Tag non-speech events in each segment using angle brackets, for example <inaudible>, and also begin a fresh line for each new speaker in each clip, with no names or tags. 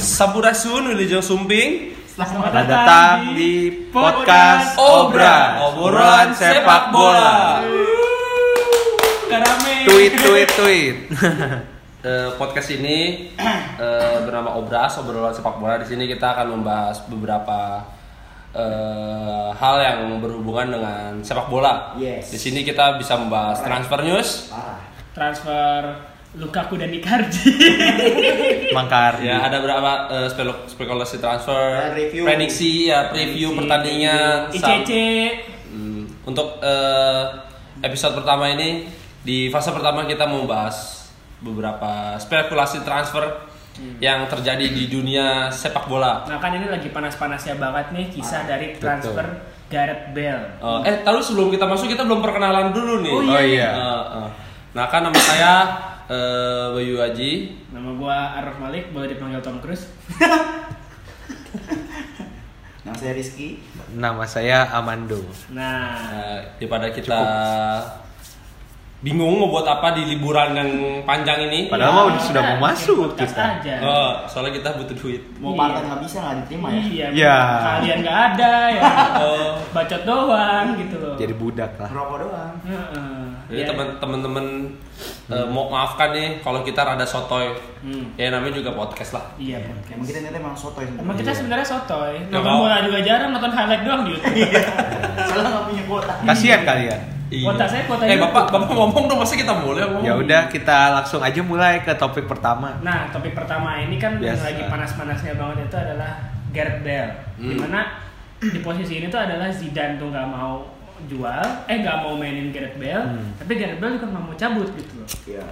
Obrasun Wilujeng Sumping.
Selamat
Selamat datang di podcast Obra, obrolan sepak bola.
Karame.
Tweet, tweet, tweet.
Eh, podcast ini <clears throat> eh, bernama Obras, obrolan sepak bola. Di sini kita akan membahas beberapa eh, hal yang berhubungan dengan sepak bola.
Yes.
Di sini kita bisa membahas transfer news.
parah
Transfer Lukaku dan Icardi.
Mangkar.
Ya, ada beberapa eh, spelo- spekulasi transfer,
Dan review.
prediksi ya, preview pertandingan. sam-
ICC.
Hmm, untuk eh, episode pertama ini di fase pertama kita mau membahas beberapa spekulasi transfer
Hmm.
yang terjadi di dunia sepak bola.
Nah kan ini lagi panas-panasnya banget nih
Ah,
kisah dari transfer Gareth Bale.
Eh, eh, taruh sebelum kita masuk kita belum perkenalan dulu nih.
Oh,
Oh iya.
Eh, eh. Nah, kan nama saya eh, Bayu Aji.
Nama gua Arif Malik, boleh dipanggil Tom Cruise.
nama saya Rizky
Nama saya Amando.
Nah,
Eh, daripada kita bingung mau buat apa di liburan yang panjang ini.
Padahal mah udah- sudah mau
bikin
masuk
podcast
kita. Oh.
Aja.
Eh, soalnya kita butuh duit.
mau
Iya.
partai nggak bisa nggak diterima ya
Iya,
Ya.
kalian nggak ada ya.
Eh,
Bacot doang gitu loh.
Jadi budak lah.
rokok doang
Heeh.
Jadi
Iya.
Ya.
teman teman-teman
Hmm.
eh, mau maafkan nih kalau kita rada sotoy.
Hmm.
Ya namanya juga podcast lah.
Iya, podcast.
emang kita ternyata emang soto ya
Emang kita sebenarnya sotoy,
Nggak
nonton
mau.
bola juga jarang, nonton highlight doang di YouTube.
soalnya nggak punya kuota
Kasihan kalian.
Kuota saya, kuota
Eh
YouTube.
bapak bapak ngomong dong masa kita boleh ngomong.
Ya udah kita langsung aja mulai ke topik pertama.
Nah, topik pertama ini kan yang
Biasa.
lagi panas-panasnya banget itu adalah Gareth Bale.
Hmm.
Dimana di posisi ini tuh adalah Zidane tuh nggak mau jual, eh nggak mau mainin Gareth Bale,
Hmm.
tapi Gareth Bale juga nggak mau cabut gitu loh.
iya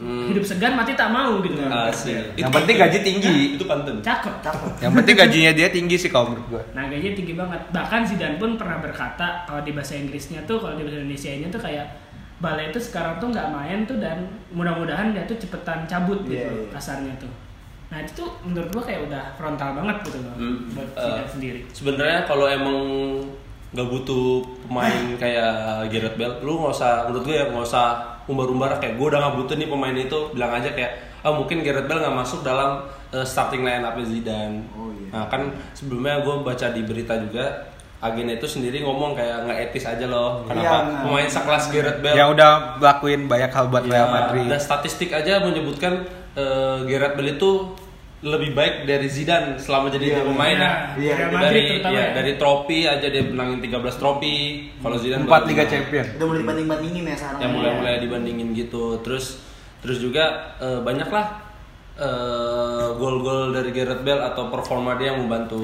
Hmm.
Hidup segan mati tak mau gitu loh.
Asik.
Yang penting gaji tinggi.
Itu pantun.
Cakep.
cakep
Yang penting gajinya dia tinggi sih kalau menurut gue.
Nah, gajinya tinggi banget. Bahkan Zidane pun pernah berkata kalau di bahasa Inggrisnya tuh, kalau di bahasa Indonesianya tuh kayak Bale itu sekarang tuh nggak main tuh dan mudah-mudahan dia tuh cepetan cabut gitu
Iya,
loh,
iya.
kasarnya tuh. Nah itu tuh menurut gua kayak udah frontal banget gitu loh
Hmm,
buat
eh.
Zidane sendiri.
Sebenarnya kalau emang nggak butuh
Nah.
pemain kayak Gareth Bale, lu nggak usah menurut gue ya nggak usah umbar-umbar kayak gue udah nggak butuh nih pemain itu bilang aja kayak ah mungkin Gareth Bale nggak masuk dalam eh, starting line up Zidane.
Oh, iya.
Nah kan sebelumnya gue baca di berita juga agen itu sendiri ngomong kayak nggak etis aja loh
Iya,
kenapa
nah.
pemain sekelas Gareth Bale
Yang Ya udah lakuin banyak hal buat Real
Ya,
Madrid.
Dan statistik aja menyebutkan eh, Gareth Bale itu lebih baik dari Zidane selama jadi
Iya,
dia pemain. Nah,
Iya,
iya.
Real Madrid
dari
terutama
ya,
ya.
dari trofi aja dia menangin 13 trofi. Kalau Zidane
Empat
baru
Liga
lima.
Champion.
udah mulai dibanding bandingin ya sekarang
Yang
Iya.
mulai-mulai dibandingin gitu. Terus terus juga eh, banyak lah eh, gol-gol dari Gareth Bale atau performa dia yang membantu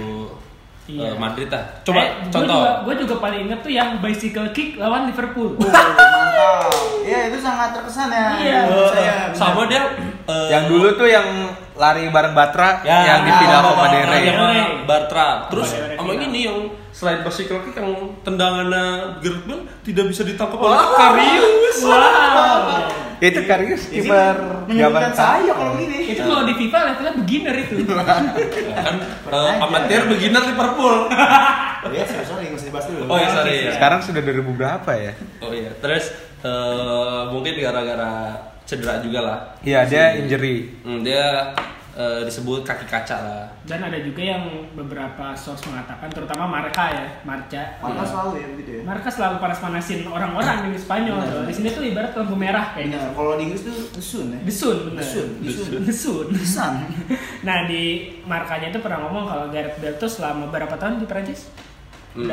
Iya.
eh, Madrid lah. Coba
Eh, gua
contoh.
Juga, gua juga paling inget tuh yang bicycle kick lawan Liverpool.
<laughs>
Oh, mantap iya itu sangat terkesan ya
Iya.
menurut saya
Eh, sama dia eh,
Yang dulu tuh yang lari bareng Batra
Ya,
yang dipindah ke
sama
Madeira.
Bartra,
ya.
sama Bartra. Terus
Madeira
sama
final.
ini yang selain bicycle kick yang tendangannya Gareth Bale tidak bisa ditangkap oleh Karius.
Wow.
Itu Karius
Di sini
kiper
menyulitkan saya
Jakarta.
kalau gini
itu kalau di FIFA levelnya beginner itu.
<laughs>
Iya.
kan eh, amatir beginner Liverpool.
<laughs>
ya sorry sorry nggak usah dibahas dulu
Oh ya sorry ya.
Sekarang sudah 2000 berapa ya?
Oh iya. Terus eh, mungkin gara-gara cedera juga lah.
Iya, dia injury.
Hmm, dia eh, disebut kaki kaca lah.
Dan ada juga yang beberapa source mengatakan, terutama Marca ya, Marca.
Maka selalu ya begitu ya
Marka selalu panas-panasin orang-orang di Spanyol.
Benar.
soalnya Di sini tuh ibarat lampu
Iya.
merah
Bener,
kayaknya.
kalau di Inggris tuh desun ya
Desun, bener.
Desun, desun.
Desun.
desan
<laughs> Nah di markanya itu pernah ngomong kalau Gareth Bale tuh selama berapa tahun di Perancis?
Hmm.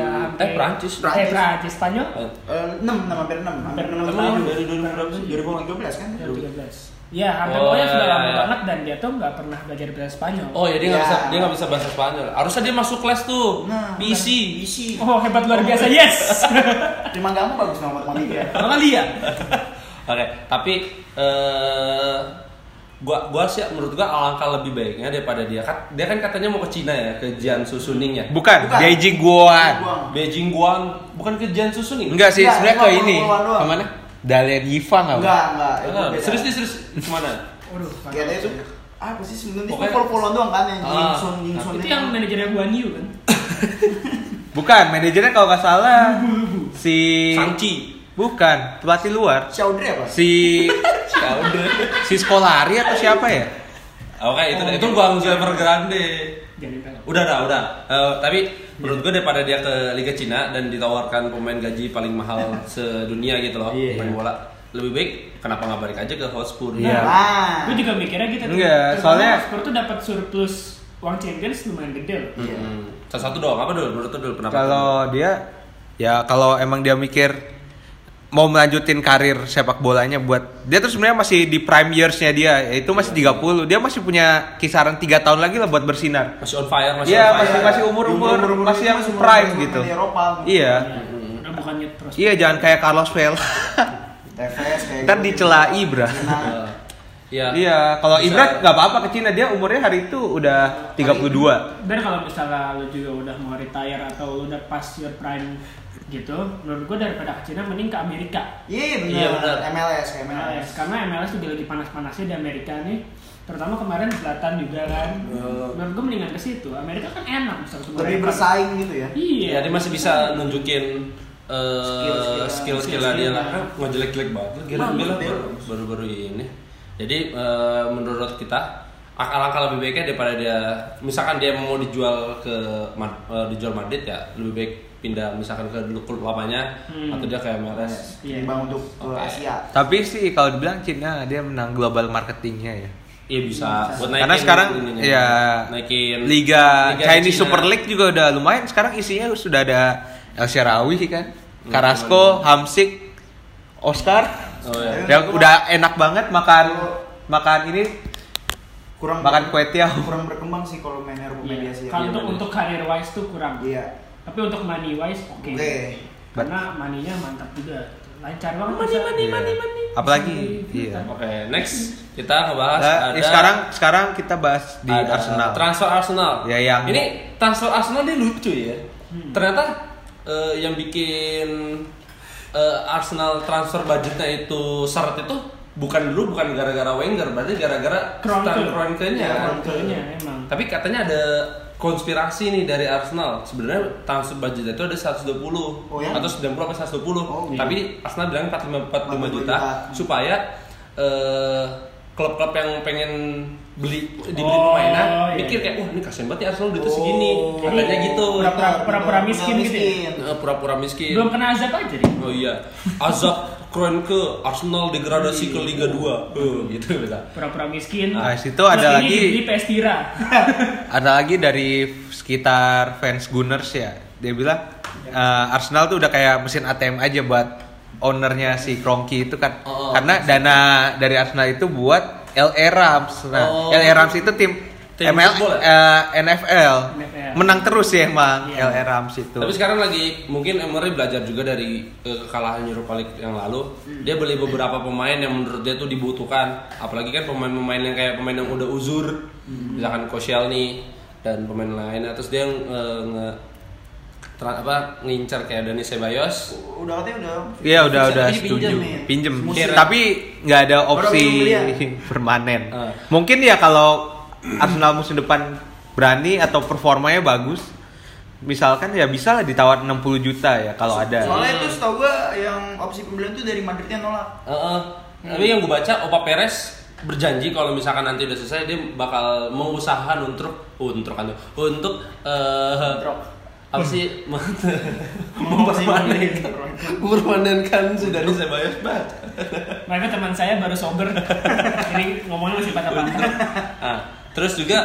Eh,
hampir-
Perancis.
Eh Perancis, Spanyol?
Eh,
Eh, enam enam hampir enam hampir enam
Emang
tahun
dari 2000 berapa sih?
2013 kan
Udah 13. Ya, hampir
Oh,
pokoknya
ya,
sudah
ya,
lama
ya.
banget dan dia tuh nggak pernah belajar bahasa Spanyol.
Oh ya dia nggak
Iya.
bisa dia nggak bisa bahasa Spanyol. Harusnya dia masuk kelas tuh.
Nah,
PC.
isi
Oh, hebat luar biasa,
<laughs>
yes!
terima kamu bagus nama teman dia
Orang kali ya?
Oke, tapi eh gua gua sih menurut gua alangkah lebih baiknya daripada dia kan dia kan katanya mau ke Cina ya, ke Jiangsu Suning ya.
Bukan,
Bukan.
Beijing Guoan.
Buang.
Beijing Guan, bukan ke Jiangsu Suning.
Enggak sih,
Enggak,
sebenarnya
emang
ke ini.
Guoan doang.
Kemana? Dalian Yifa nggak? Bu?
Enggak, enggak. itu
Enggak,
beda.
serius nih, serius kemana?
Waduh,
Kayaknya itu ah, apa sih sebenarnya itu
Pokoknya-
follow-followan doang kan yang
Ah.
Jingson Jingson
itu yang manajernya Guan Yu kan?
Bukan, manajernya kalau nggak salah si
Sangchi.
Bukan, pelatih luar.
Chaudhry apa?
Si
Ya udah.
si Scolari atau siapa ya?
Oke, itu itu Bang Silver Grande.
Jadi pelok.
Udah dah, udah. Eh, tapi
Iya.
menurut gue daripada dia ke Liga Cina dan ditawarkan pemain gaji paling
<laughs>
mahal sedunia gitu loh,
Iya,
pemain
iya.
bola. Lebih baik kenapa nggak balik aja ke Hotspur?
Iya.
Nah,
Gue juga mikirnya gitu. tuh.
Enggak,
Terutama
soalnya-
Spurs tuh dapat surplus uang Champions lumayan gede loh.
Iya.
Hmm. Satu-satu doang apa dulu? Menurut lu dulu kenapa?
Kalau dia ya kalau emang dia mikir mau melanjutin karir sepak bolanya buat dia tuh sebenarnya masih di prime years-nya dia yaitu
Iya.
masih 30. Dia masih punya kisaran 3 tahun lagi lah buat bersinar.
masih on fire, masih on
Iya,
fire.
masih masih umur-umur
ya? Umur-umur
masih
ini
yang
masih umur-umur
prime
main
gitu.
di Eropa.
Iya.
Mm-hmm.
Udah bukannya terus.
Iya, jangan kayak Carlos Vela. <laughs>
TVS kayak
Ntar
gitu.
dicelai, Bra.
Nah,
Iya.
Iya, kalau
Bisa.
Ibra nggak apa-apa ke Cina dia umurnya hari itu udah 32.
Dan kalau misalnya lu juga udah mau retire atau lu udah past your prime gitu, menurut gue daripada ke Cina mending ke Amerika.
Iya,
Iya
benar.
benar. MLS, MLS.
MLS. Karena MLS juga lagi panas-panasnya di Amerika nih. Terutama kemarin Selatan juga kan.
Hmm.
Menurut gue mendingan ke situ. Amerika kan enak bisa ketemu
Lebih
mereka.
bersaing gitu ya.
Iya,
Iya, dia masih bisa nunjukin eh
Skill-skillan.
skill skillnya dia lah. Kan ngejelek-jelek banget. lu Kira
Bang,
dia lah
dia.
baru- baru-baru ini. Jadi eh, menurut kita alangkah lebih baiknya daripada dia misalkan dia mau dijual ke Ma- eh, dijual Madrid ya lebih baik pindah misalkan ke dulu klub lamanya
Hmm.
atau dia ke MLS.
Iya.
Timbang untuk ke
Oke.
Asia.
Tapi sih kalau dibilang Cina dia menang global marketingnya ya.
Iya bisa. Buat naikin
Karena sekarang
ininya.
ya
naikin
Liga, Chinese
Cina.
Super League juga udah lumayan. Sekarang isinya sudah ada El Sharawi kan, Carrasco, Hamsik,
<laughs>
Oscar.
Oh, iya.
Ya udah enak banget makan makan ini
Kurang
Makan kue tiaw.
Kurang berkembang sih kalau main Eropa main di
Iya.
Asia.
Kalau
Iya,
untuk,
bener.
untuk career wise tuh kurang.
Iya.
Tapi untuk money wise oke.
Oke.
Karena maninya mantap juga. Lancar banget.
Money,
bisa.
money, money,
Iya. Apalagi iya.
Oke, next kita ngebahas
Nah,
ada
sekarang sekarang kita bahas di
Ada
Arsenal.
Transfer Arsenal.
Ya, yang-
Ini transfer Arsenal dia lucu ya.
Hmm.
Ternyata eh, yang bikin eh, Arsenal transfer budgetnya itu seret itu bukan dulu bukan gara-gara Wenger, berarti gara-gara
Kroenke.
Stan Kroenke-nya.
Iya, Kroenke.
Betulnya emang.
Tapi katanya ada konspirasi nih dari Arsenal. Sebenarnya transfer budget itu ada 120
Oh ya?
atau 90 sampai 120.
Oh, iya.
Tapi Arsenal bilang 45 45
45
juta supaya eh, klub-klub yang pengen beli dibeli
Oh,
pemainan
iya.
mikir kayak wah ini kasihan banget ya Arsenal duitnya
Oh. Iya.
segini. Katanya
Jadi,
gitu.
berapa- Pura-pura- pura-pura miskin gitu ya?
Eh, Pura-pura miskin.
Belum kena azab aja deh.
Oh iya. Azab Kroenke Arsenal degradasi ke Liga 2. Eh, gitu kata.
Pura-pura miskin.
Nah, situ
Terus
ada
ini
lagi-
dibeli PS Tira. <laughs>
Ada lagi dari sekitar fans Gunners ya. Dia bilang
Ya.
eh, Arsenal tuh udah kayak mesin ATM aja buat ownernya si Kronki itu kan.
Oh, oh.
Karena dana dari Arsenal itu buat LA Rams. Nah,
Oh.
LA Rams itu tim,
Tim
ML,
football ya?
eh, NFL.
NFL.
Menang terus ya emang
Iya.
LA Rams itu.
Tapi sekarang lagi mungkin Emery belajar juga dari eh, kekalahan Europa League yang lalu. Dia beli beberapa pemain yang menurut dia tuh dibutuhkan. Apalagi kan pemain-pemain yang kayak pemain yang udah uzur, misalkan Koscielny dan pemain lain. Terus dia yang eh, nge tra- apa ngincar kayak Dani Ceballos.
Udah katanya udah.
Iya udah
Bisa
udah
tapi
setuju.
dipinjem
nih.
Pinjem. Iya.
Musim.
Tapi nggak ada opsi
Orang yang beli
<laughs> permanen.
Eh.
Mungkin ya kalau Arsenal musim depan berani atau performanya bagus, misalkan ya bisa lah ditawar 60 juta ya kalau ada.
Soalnya itu setahu gua yang opsi pembelian tuh dari Madridnya nolak.
Eh, eh. Tapi yang gue baca Opa Perez berjanji kalau misalkan nanti udah selesai dia bakal mengusahakan untuk untuk untuk eh, apa sih <laughs> mempermanenkan mempermanenkan si Dani Ceballos banget
Makanya teman saya baru sober. <laughs> Ini ngomongnya masih patah-patah.
nah, terus juga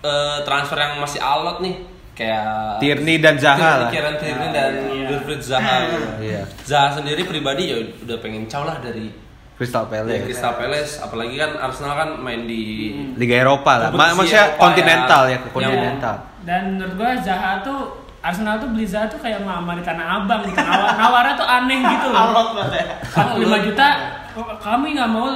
eh, transfer yang masih alot nih kayak
Tierney dan Zaha lah.
Kieran Tierney dan
Iya.
Wilfried Zaha gitu.
Iya.
Zaha sendiri pribadi ya udah pengen caw lah dari
Crystal
dari
Palace.
Iya, Crystal Palace apalagi kan Arsenal kan main di
Liga Eropa lah. Ma-
Kompetisi
maksudnya
Eropa ya.
kontinental ya, ke
Yang-
kontinental.
Iya. Dan menurut gua Zaha tuh Arsenal tuh beli Zaha tuh kayak mama di tanah abang gitu. Nawar, nawarnya tuh aneh gitu loh.
Alot banget ya.
45 juta oh, kami nggak mau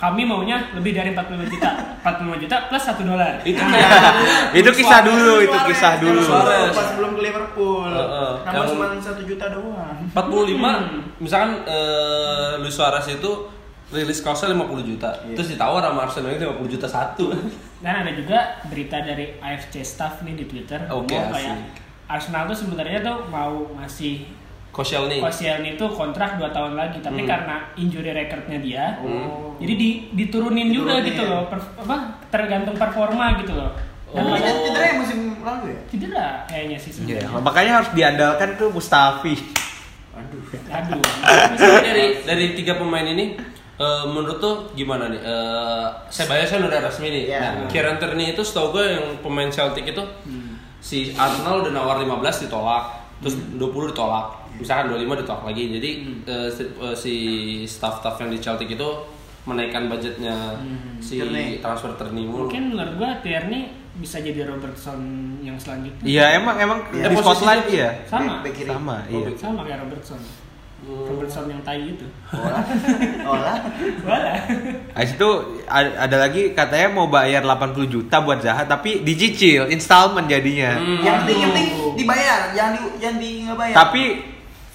kami maunya lebih dari 45 juta. 45 juta plus 1 dolar. <laughs> Nah,
itu kan. kayak
Itu kisah dulu, itu kisah dulu.
Suarez.
Pas belum ke Liverpool.
Heeh.
Nama
Yang-
cuma 1 juta doang.
45
Hmm.
misalkan eh, Luis Suarez itu rilis kaosnya 50 juta terus ditawar sama Arsenal itu 50 juta satu
Dan ada juga berita dari AFC staff nih di Twitter
Oke,
ngomong
asik.
kayak Arsenal tuh sebenarnya tuh mau masih
Koscielny.
Koscielny itu kontrak 2 tahun lagi,
Eh.
tapi
Hmm.
karena injury recordnya dia,
Hmm.
Oh.
jadi di, diturunin juga
Diturunin.
gitu loh, per- apa tergantung performa gitu loh.
Oh.
Dan
Tapi
makanya-
dia cedera ya musim lalu ya?
cedera kayaknya sih
Iya,
sebenarnya.
makanya harus diandalkan tuh Mustafi.
Aduh.
Aduh.
<laughs> Tapi dari dari tiga pemain ini eh, menurut tuh gimana nih? Eh Sebayas kan udah resmi nih. Nah,
Iya.
Kieran Tierney itu setahu gue yang pemain Celtic itu
Hmm.
si Arsenal udah nawar 15 ditolak, terus
Hmm.
20 ditolak,
Iya.
misalkan 25 ditolak lagi. Jadi eh, si, eh, si staff-staff yang di Celtic itu menaikkan budgetnya si
Hmm. Tierney.
transfer Tierney mulu.
Mungkin menurut gua Tierney bisa jadi Robertson yang selanjutnya.
Iya, emang emang
Iya.
di
Posisinya
Scotland
tuh-
iya.
Sama.
Back, back kiri.
Sama,
Oh,
iya.
back.
Sama kayak Robertson.
Oh.
Robertson yang tai itu.
<laughs>
Olah. Olah.
<laughs> Walah.
Habis itu a- ada lagi katanya mau bayar 80 juta buat Zaha tapi dicicil installment jadinya.
Yang penting yang penting
Aduh.
dibayar, yang di yang di nggak bayar.
Tapi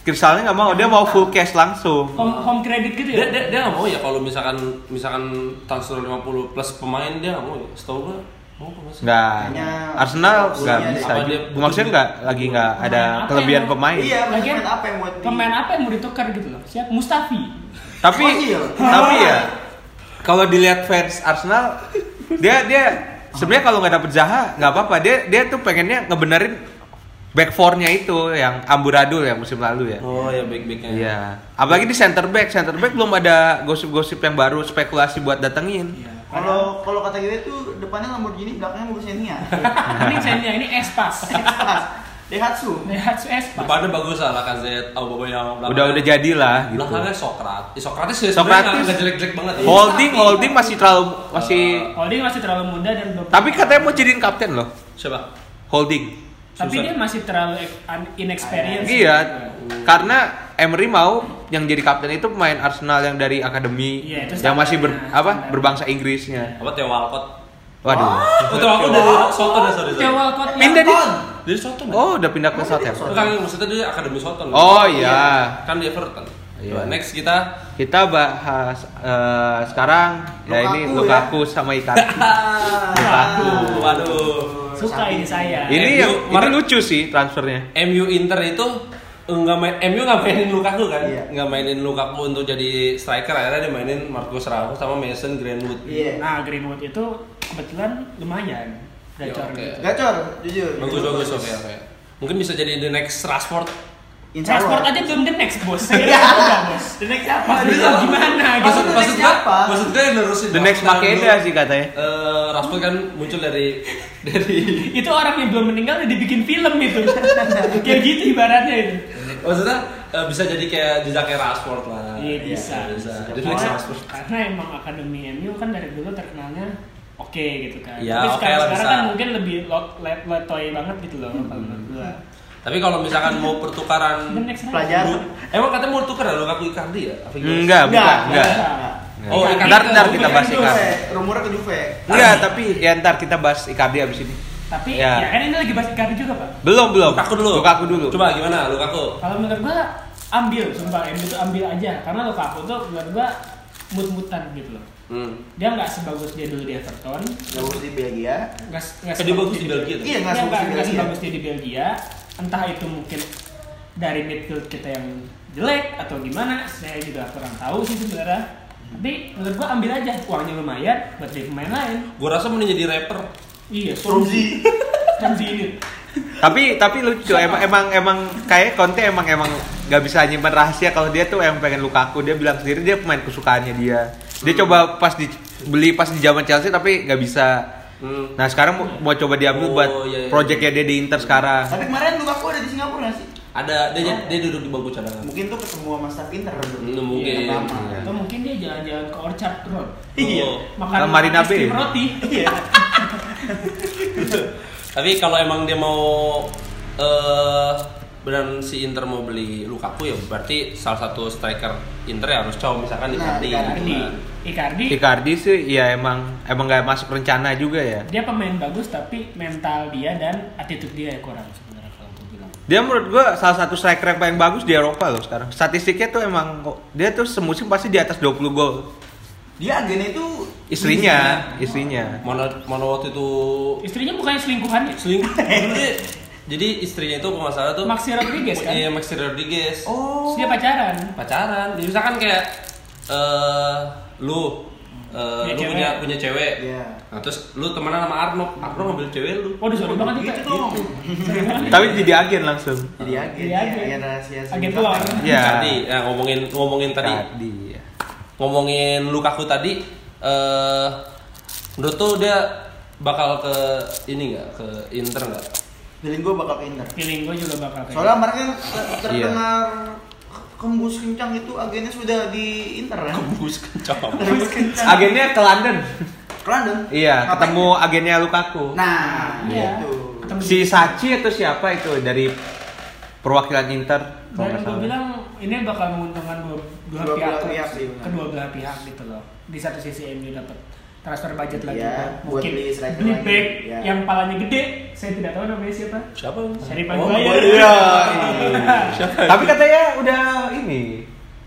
Kristalnya nggak mau, dia mau full cash langsung.
Home, home credit gitu ya.
Dia, dia, dia nggak mau ya kalau misalkan misalkan transfer 50 plus pemain dia nggak mau ya. Setahu gue mau apa sih?
Nggak.
Kayaknya
Arsenal nggak
apa
bisa.
dia-
juga. Maksudnya nggak lagi nggak ada
Pemain apa
kelebihan
yang-
pemain.
iya,
Lagian,
pemain apa yang buat di-
Pemain apa yang mau ditukar gitu loh? Siap Mustafi.
Tapi
Oh, iya.
tapi ya kalau dilihat fans Arsenal dia dia sebenarnya kalau nggak dapet Zaha nggak apa-apa. Dia dia tuh pengennya ngebenerin back four-nya itu yang amburadul ya musim lalu ya.
Oh ya baik-baiknya.
Iya. Apalagi di center back, center back belum ada gosip-gosip yang baru spekulasi buat datengin.
Iya.
Kalau kalau kata gue tuh depannya Lamborghini, belakangnya
<laughs>
mobil Xenia.
<laughs> ini sayangnya ini Espas.
Daihatsu.
Daihatsu Espas.
Depannya bagus lah Lacazette, Aubameyang. belakangnya-
Udah udah jadilah gitu.
Belakangnya Sokrat. Eh, Sokrates ya
Sokrates.
sebenarnya nggak jelek-jelek banget. ya.
Holding holding masih terlalu masih
Oh, dia masih terlalu muda dan belum
tapi katanya mau jadiin kapten loh.
Siapa?
Holding.
tapi
susah.
dia masih terlalu ex- un- inexperienced.
Iya,
gitu.
karena Emery mau yang jadi kapten itu pemain Arsenal yang dari akademi
Iya, itu
yang masih ber,
standarnya,
apa
standar.
berbangsa Inggrisnya.
Apa Theo Walcott?
Waduh.
Oh, Theo Walcott dari Soton ya, sorry. sorry.
Theo Walcott yang-
Pindah dia.
Dari Soton. ya?
Oh, udah pindah ke
Bukan,
Southampton.
maksudnya dia akademi Soton.
Oh iya.
Kan di Everton.
Iya.
Coba, Next kita
Kita bahas eh, sekarang ya ini Lukaku
Lukaku,
sama Icardi.
Waduh, waduh.
suka ini saya.
ini
Eh,
yang
lu-
ini
Mar-
lucu sih transfernya.
MU Inter itu nggak main MU nggak mainin Lukaku kan?
Iya.
Nggak mainin Lukaku untuk jadi striker akhirnya dia mainin Marcus Rashford sama Mason Greenwood.
Iya.
Nah, Greenwood itu kebetulan lumayan gacor
Ya, oke.
gitu.
Gacor, jujur.
Bagus bagus oke oke. Mungkin bisa jadi the next Rashford.
Insya
Transport
Allah.
aja belum the next bos. Udah, bos. The next apa? Gimana gitu.
Maksud
the
maksud
next
gua,
apa?
maksud gua yang nerusin.
The next Makeda sih katanya.
Eh, Rashford kan muncul dari <laughs> dari
Itu orang yang belum meninggal udah dibikin film <laughs> itu. Kayak gitu ibaratnya itu.
maksudnya eh, bisa jadi kayak jejaknya Rashford lah.
Iya bisa.
bisa. The next
Karena,
Rashford.
karena emang akademi MU kan dari dulu terkenalnya oke gitu kan.
Ya, oke
Tapi sekarang,
lah,
sekarang
bisa.
kan mungkin lebih lot let letoy banget gitu loh kalau menurut gua.
Tapi kalau misalkan mau pertukaran
The next
Pelajar.
Lu- Emang katanya mau tuker ya Lukaku Icardi ya? Apa gimana?
Enggak, bukan, enggak.
Oh,
Icardi
ntar-
ke-
ntar
kita
bukan
bahas
ke-
Icardi.
Juve, rumornya ke Juve.
Enggak, tapi ya ntar kita bahas Icardi abis ini.
Tapi
Iya.
Ya.
ya kan ini lagi bahas Icardi juga, Pak.
Belum, belum.
Lukaku dulu.
Lukaku dulu.
Coba gimana Lukaku?
Kalau menurut gua ambil, sumpah MU tuh ambil aja karena Lukaku tuh menurut gua mut-mutan gitu loh.
Hmm.
Dia nggak sebagus dia dulu di Everton,
Bagus di Belgia.
nggak nggak
Eh, dia
sebagus
bagus di Belgia tuh?
Iya,
Dia nggak
nggak sebagus di
nggak
Belgia.
sebagus dia di Belgia. Entah itu mungkin dari midfield kita yang jelek atau gimana, saya juga kurang tahu sih sebenarnya. Tapi menurut gua ambil aja, uangnya lumayan buat beli pemain lain.
Gue rasa mending jadi rapper.
Iya,
Rumzi.
Rumzi ini.
tapi tapi lucu emang emang emang kayak Conte emang emang nggak bisa nyimpan rahasia kalau dia tuh yang pengen Lukaku dia bilang sendiri dia pemain kesukaannya dia dia coba pas di beli pas di zaman Chelsea tapi nggak bisa
Hmm.
nah sekarang mau, mau coba
Oh,
diambil buat
iya, iya.
projectnya dia di Inter sekarang
Tapi kemarin Lukaku ada di Singapura nggak sih?
Ada dia dia duduk di bangku cadangan.
Mungkin tuh ketemu sama staff Inter dulu.
Hmm, mungkin.
Yang lama.
Iya.
Atau mungkin dia jalan-jalan ke Orchard Road.
Iya.
Makan
Ke Marina
es krim
Bay.
roti.
Iya.
<laughs> Tapi kalau emang dia mau eh benar si Inter mau beli Lukaku ya berarti salah satu striker Inter ya harus cowok misalkan gitu
Nah,
Icardi.
Icardi.
Icardi. Icardi
Icardi sih ya emang emang nggak masuk rencana juga ya
dia pemain bagus tapi mental dia dan attitude dia yang kurang sebenarnya kalau aku bilang.
dia menurut gua salah satu striker yang paling bagus di Eropa loh sekarang statistiknya tuh emang kok- dia tuh semusim pasti di atas 20 gol
Dia agennya itu Iya.
istrinya istrinya
kan. Mana mana waktu itu
<laughs> Istrinya bukannya selingkuhannya.
selingkuh. Dia Jadi istrinya itu kalau nggak salah tuh
Iya. Maxi Rodriguez kan? Oh.
Iya, Maxi Rodriguez.
Terus
Oh.
dia pacaran.
Pacaran. Jadi misalkan kayak eh lu eh,
Punya
lu
cewek.
punya punya cewek.
Iya.
Nah, terus lu temenan sama Arno, Arno ngambil cewek lu.
Oh, disuruh banget itu.
Gitu dong.
Tapi jadi agen langsung.
Jadi agen,
Jadi
ya,
Iya, agen.
agen rahasia.
Agen
singkat.
luar.
Iya.
Tadi nah, ngomongin ngomongin tadi
Tadi. ya.
ngomongin Lukaku tadi eh menurut tuh dia bakal ke ini nggak ke Inter nggak?
Feeling gue bakal ke Inter.
Feeling gue juga bakal
Iya.
kayak
Soalnya mereka terkenal kembus kencang itu agennya sudah di Inter kan.
Bus kencang.
Kembus kencang.
Agennya ke London.
Ke London.
Iya,
Ngapain?
ketemu agennya Lukaku.
Nah,
Iya.
gitu.
Ketemu
Si Sachi atau siapa itu dari perwakilan Inter?
Dan
kalau nggak
gue
salah.
bilang ini bakal menguntungkan dua, dua,
Dua
pihak,
belah pihak iya, sih, benar.
kedua belah pihak gitu loh. Di satu sisi MU dapat transfer budget lagi,
Iya,
kan.
buat
mungkin
beli striker
beli
lagi,
back
iya.
yang palanya gede. Saya tidak tahu namanya siapa.
Siapa?
Sharif
Oh,
Aguayo.
Aguayo.
Tapi katanya udah ini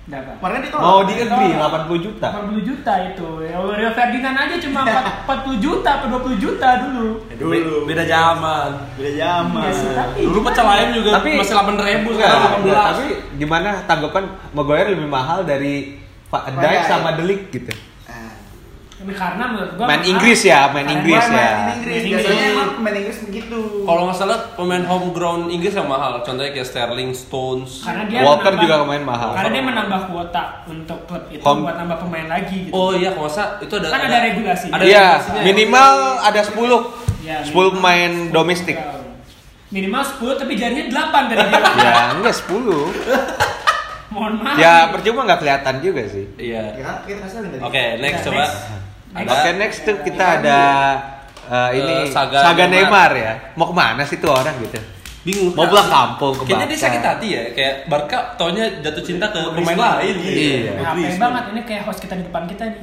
Dapat.
Mereka ditolak.
mau di agree 80 juta.
40 juta itu. Ya, Rio Ferdinand aja cuma
<laughs>
40 juta atau 20 juta dulu.
Dulu.
Beda zaman.
Beda zaman.
Iya sih, tapi
Dulu pecel ayam juga
Tapi-
masih 8.000 sekarang
Enggak,
18.
tapi gimana tanggapan Maguire lebih mahal dari Van
Van Dijk.
Dijk sama Delik gitu.
Ah.
Ini karena menurut gua
Main
mahal.
Inggris ya, main
Karena
Inggris
Pemain
ya.
Inggris.
Main
Biasanya
Inggris.
emang pemain Inggris begitu.
Kalau nggak salah pemain home ground Inggris yang mahal, contohnya kayak Sterling, Stones.
Karena dia
Walker
menambah-
juga main mahal.
Karena dia menambah kuota untuk klub itu
Home-
buat nambah pemain lagi gitu.
Oh iya, kalau nggak salah itu ada
Kan ada regulasinya.
Ada
Iya,
regulasinya. ya?
minimal ada 10.
Ya,
10
minimal
pemain
10
domestik.
pemain. Minimal 10 tapi jarinya 8 tadi dia.
<laughs> Ya, enggak 10.
Mohon maaf.
<laughs> Ya, percuma nggak kelihatan juga sih.
Iya.
Ya kan kita kasih tadi.
Oke, next
Nah,
coba.
next.
Ada
Oke, next tuh kita ada Iya, eh, ini
Eh,
Saga,
Saga
Neymar
Neymar.
ya. Mau kemana sih tuh orang gitu?
bingung.
Mau pulang kampung ke
Kayaknya dia
Barca.
sakit hati ya, kayak Barca taunya jatuh cinta ke pemain lain.
Iya.
Nah, apa yang banget ini kayak host kita di depan kita nih.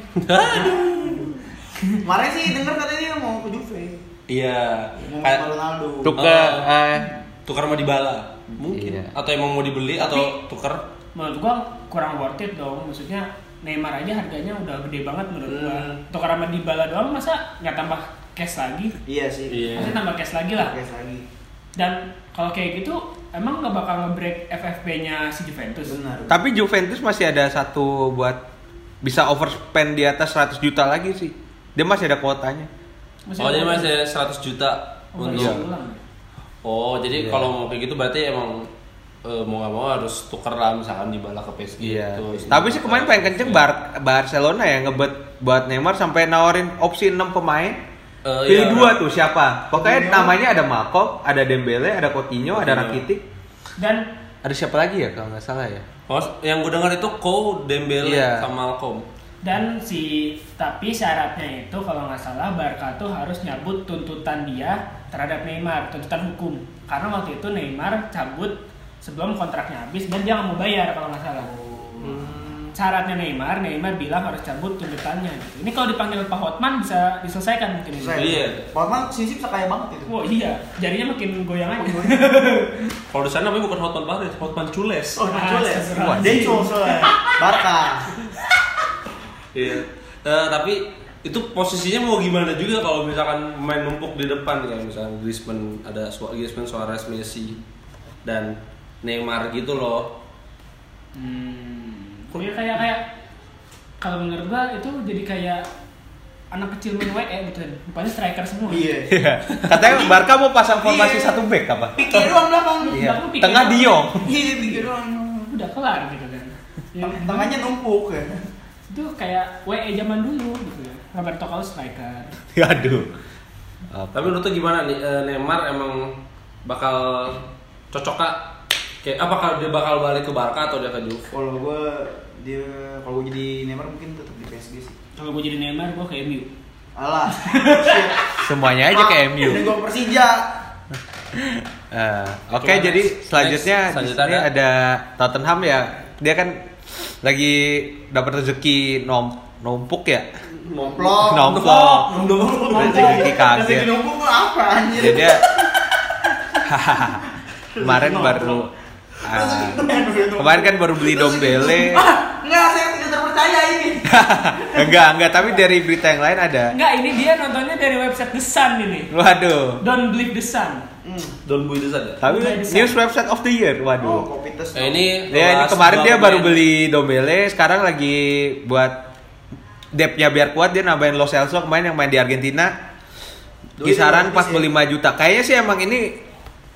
Kemarin sih denger katanya mau ke Juve.
Iya.
Mau
Kayak
sama Ronaldo.
Tuh ke eh,
tukar sama Dybala. Mungkin
Iya.
atau emang mau dibeli atau tukar.
Menurut gua kurang worth it dong. Maksudnya Neymar aja harganya udah gede banget menurut gua.
Hmm.
Tukar sama Dybala doang masa nggak tambah cash lagi?
Iya sih.
Iya.
Maksudnya tambah cash lagi lah.
Oke, lagi.
Dan kalau kayak gitu emang nggak bakal nge-break FFP-nya si Juventus.
Benar.
tapi Juventus masih ada satu buat bisa overspend di atas 100 juta lagi sih. Dia masih ada kuotanya.
Oh, jadi masih Iya. 100 juta
Oh,
untuk
masih ulang.
Oh, jadi
Iya.
kalau mau kayak gitu berarti emang eh, mau nggak mau harus tuker lah misalkan dibala ke PSG
Iya.
gitu.
Tapi sih kemarin pengen kenceng
Iya.
Bar- Barcelona ya ngebet buat Neymar sampai nawarin opsi 6 pemain.
Eh,
Pilih
iya.
dua tuh siapa? Pokoknya
Coutinho.
namanya ada Malcolm, ada Dembele, ada Coutinho, ada
Coutinho.
Rakitic.
Dan
Ada siapa lagi ya kalau nggak salah ya?
Mas, yang gue dengar itu Ko, Dembele,
Iya.
sama Malcolm.
dan si tapi syaratnya itu kalau nggak salah Barca tuh harus nyabut tuntutan dia terhadap Neymar, tuntutan hukum. Karena waktu itu Neymar cabut sebelum kontraknya habis dan dia nggak mau bayar kalau nggak salah. Syaratnya Neymar, Neymar bilang harus cabut tuntutannya. gitu. Ini kalau dipanggil Pak Hotman bisa diselesaikan mungkin. ini.
Selesai.
Iya.
Portman sisi bisa kaya banget itu.
Oh iya, jarinya makin goyang aja.
Kalau di sana namanya bukan Hotman Paris, Hotman Cules.
Oh, Nacholes.
Wah,
Denco soalnya. Barca.
Iya. Eh, tapi itu posisinya mau gimana juga kalau misalkan main numpuk di depan kayak misalkan Griezmann ada Su- Griezmann, Suarez, Messi dan Neymar gitu loh.
Hmm. <laughs> Iya kayak kayak kalau menurut gua itu jadi kayak anak kecil main WE gitu kan. Depannya striker semua. <laughs>
Iya.
Katanya Barca mau pasang formasi
Iya.
satu back apa?
Pikir doang belakang.
Iya.
Aku pikir-
Tengah Diong.
Iya, pikir doang.
Udah kelar gitu kan. Ya,
Tangannya numpuk ya.
itu kayak WE zaman dulu gitu ya. Roberto Carlos striker.
Aduh. Apa?
Tapi menurut tuh gimana nih eh, Neymar emang bakal cocok kak? Kayak apakah dia bakal balik ke Barca atau dia ke Juve?
Kalau gue dia kalau gue jadi Neymar mungkin tetap di PSG sih.
Kalau gue jadi Neymar gua ke MU.
Alah.
Semuanya aja ke MU.
Dan gue Persija.
Eh, Oke,
Coba
jadi
next.
selanjutnya
Next,
di
selanjutnya
sini ada... Tottenham ya. Dia kan lagi dapat rezeki nom numpuk ya.
Nomplok.
Nomplok. Rezeki
Rezeki
kaget.
numpuk tuh apa anjir?
Jadi dia <laughs> kemarin
Nomplok.
baru ah,
Rezeki numpuk.
kemarin kan baru beli Dombele.
<laughs> Ah, enggak saya tidak terpercaya ini.
enggak, enggak, tapi dari berita yang lain ada.
Enggak, ini dia nontonnya dari website The Sun ini.
Waduh.
Don't believe The Sun.
Don Buy Design ya?
Tapi
Mulai di-
news website of the year.
Oh,
Waduh.
kopi tes.
Nah, ini
Ya, ini
bahas
kemarin
dua
dia baru
pemain.
beli Dombele, sekarang lagi buat depnya biar kuat dia nambahin Los Celso kemarin yang main di Argentina.
Doi,
Kisaran
bagus
45 juta. Kayaknya sih emang ini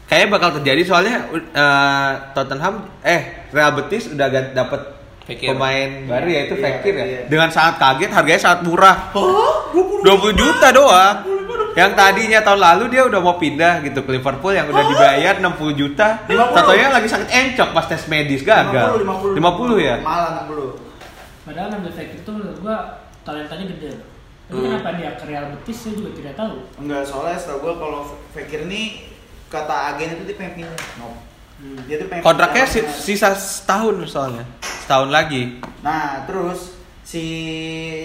kayaknya bakal terjadi soalnya eh, Tottenham eh Real Betis udah dapat
Fekir.
pemain baru yaitu
Iya,
Fekir ya.
iya.
Dengan sangat kaget harganya sangat murah. 20 juta doang. Yang tadinya tahun lalu dia udah mau pindah gitu ke Liverpool yang udah dibayar 60 juta.
50.
Tatonya lagi sakit encok pas tes medis gagal.
50, 50,
50 ya.
Malah 60.
Padahal ngambil Fekir itu menurut gua talentanya gede. Tapi
Hmm.
kenapa dia ke Real Betis saya juga tidak tahu.
Enggak, soalnya setahu gue kalau Fekir ini kata agen itu dia pengen pindah. No.
Hmm.
Dia tuh pengen
Kontraknya
pindah.
si- sisa setahun soalnya. Setahun lagi.
Nah, terus si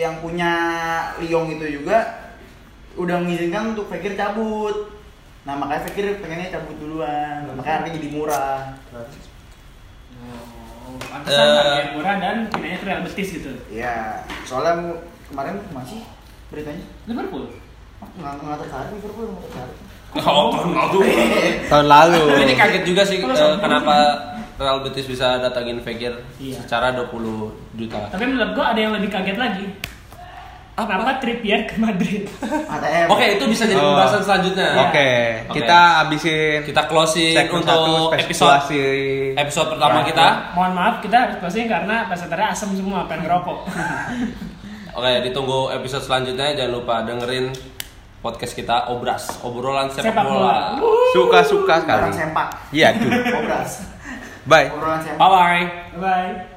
yang punya Liong itu juga udah mengizinkan untuk Fekir cabut. Nah, makanya Fekir pengennya cabut
Nah,
duluan. Makanya harganya jadi murah.
Eh.
Oh, pantesan uh, murah dan pindahnya ke Real Betis gitu.
Iya, soalnya mu- kemarin masih beritanya
Liverpool.
nggak nggak tertarik Liverpool nggak
<laughs>
tertarik.
<laughs> Oh, tahun lalu.
Tahun lalu.
Tapi ini kaget juga sih eh,
Kalau sama-
kenapa Real Betis bisa datangin Fekir
Iya.
secara 20 juta.
Tapi menurut gua ada yang lebih kaget lagi. Apa? Kenapa Trippier ke Madrid? <laughs>
ATM.
Oke, itu bisa jadi
Oh.
pembahasan selanjutnya.
Oke, kita habisin
kita closing
segmen
untuk
satu,
episode
spekulasi.
episode pertama
Ya.
kita.
Mohon maaf kita harus closing karena pesertanya asam semua pengen ngerokok.
Oke, ditunggu episode selanjutnya. Jangan lupa dengerin podcast kita Obras, obrolan sepak,
Sepak bola.
bola.
Suka-suka
<laughs>
sekali.
Orang sempak.
Iya, tuh.
Obras.
Bye.
Obrolan sempak.
Bye bye.
Bye.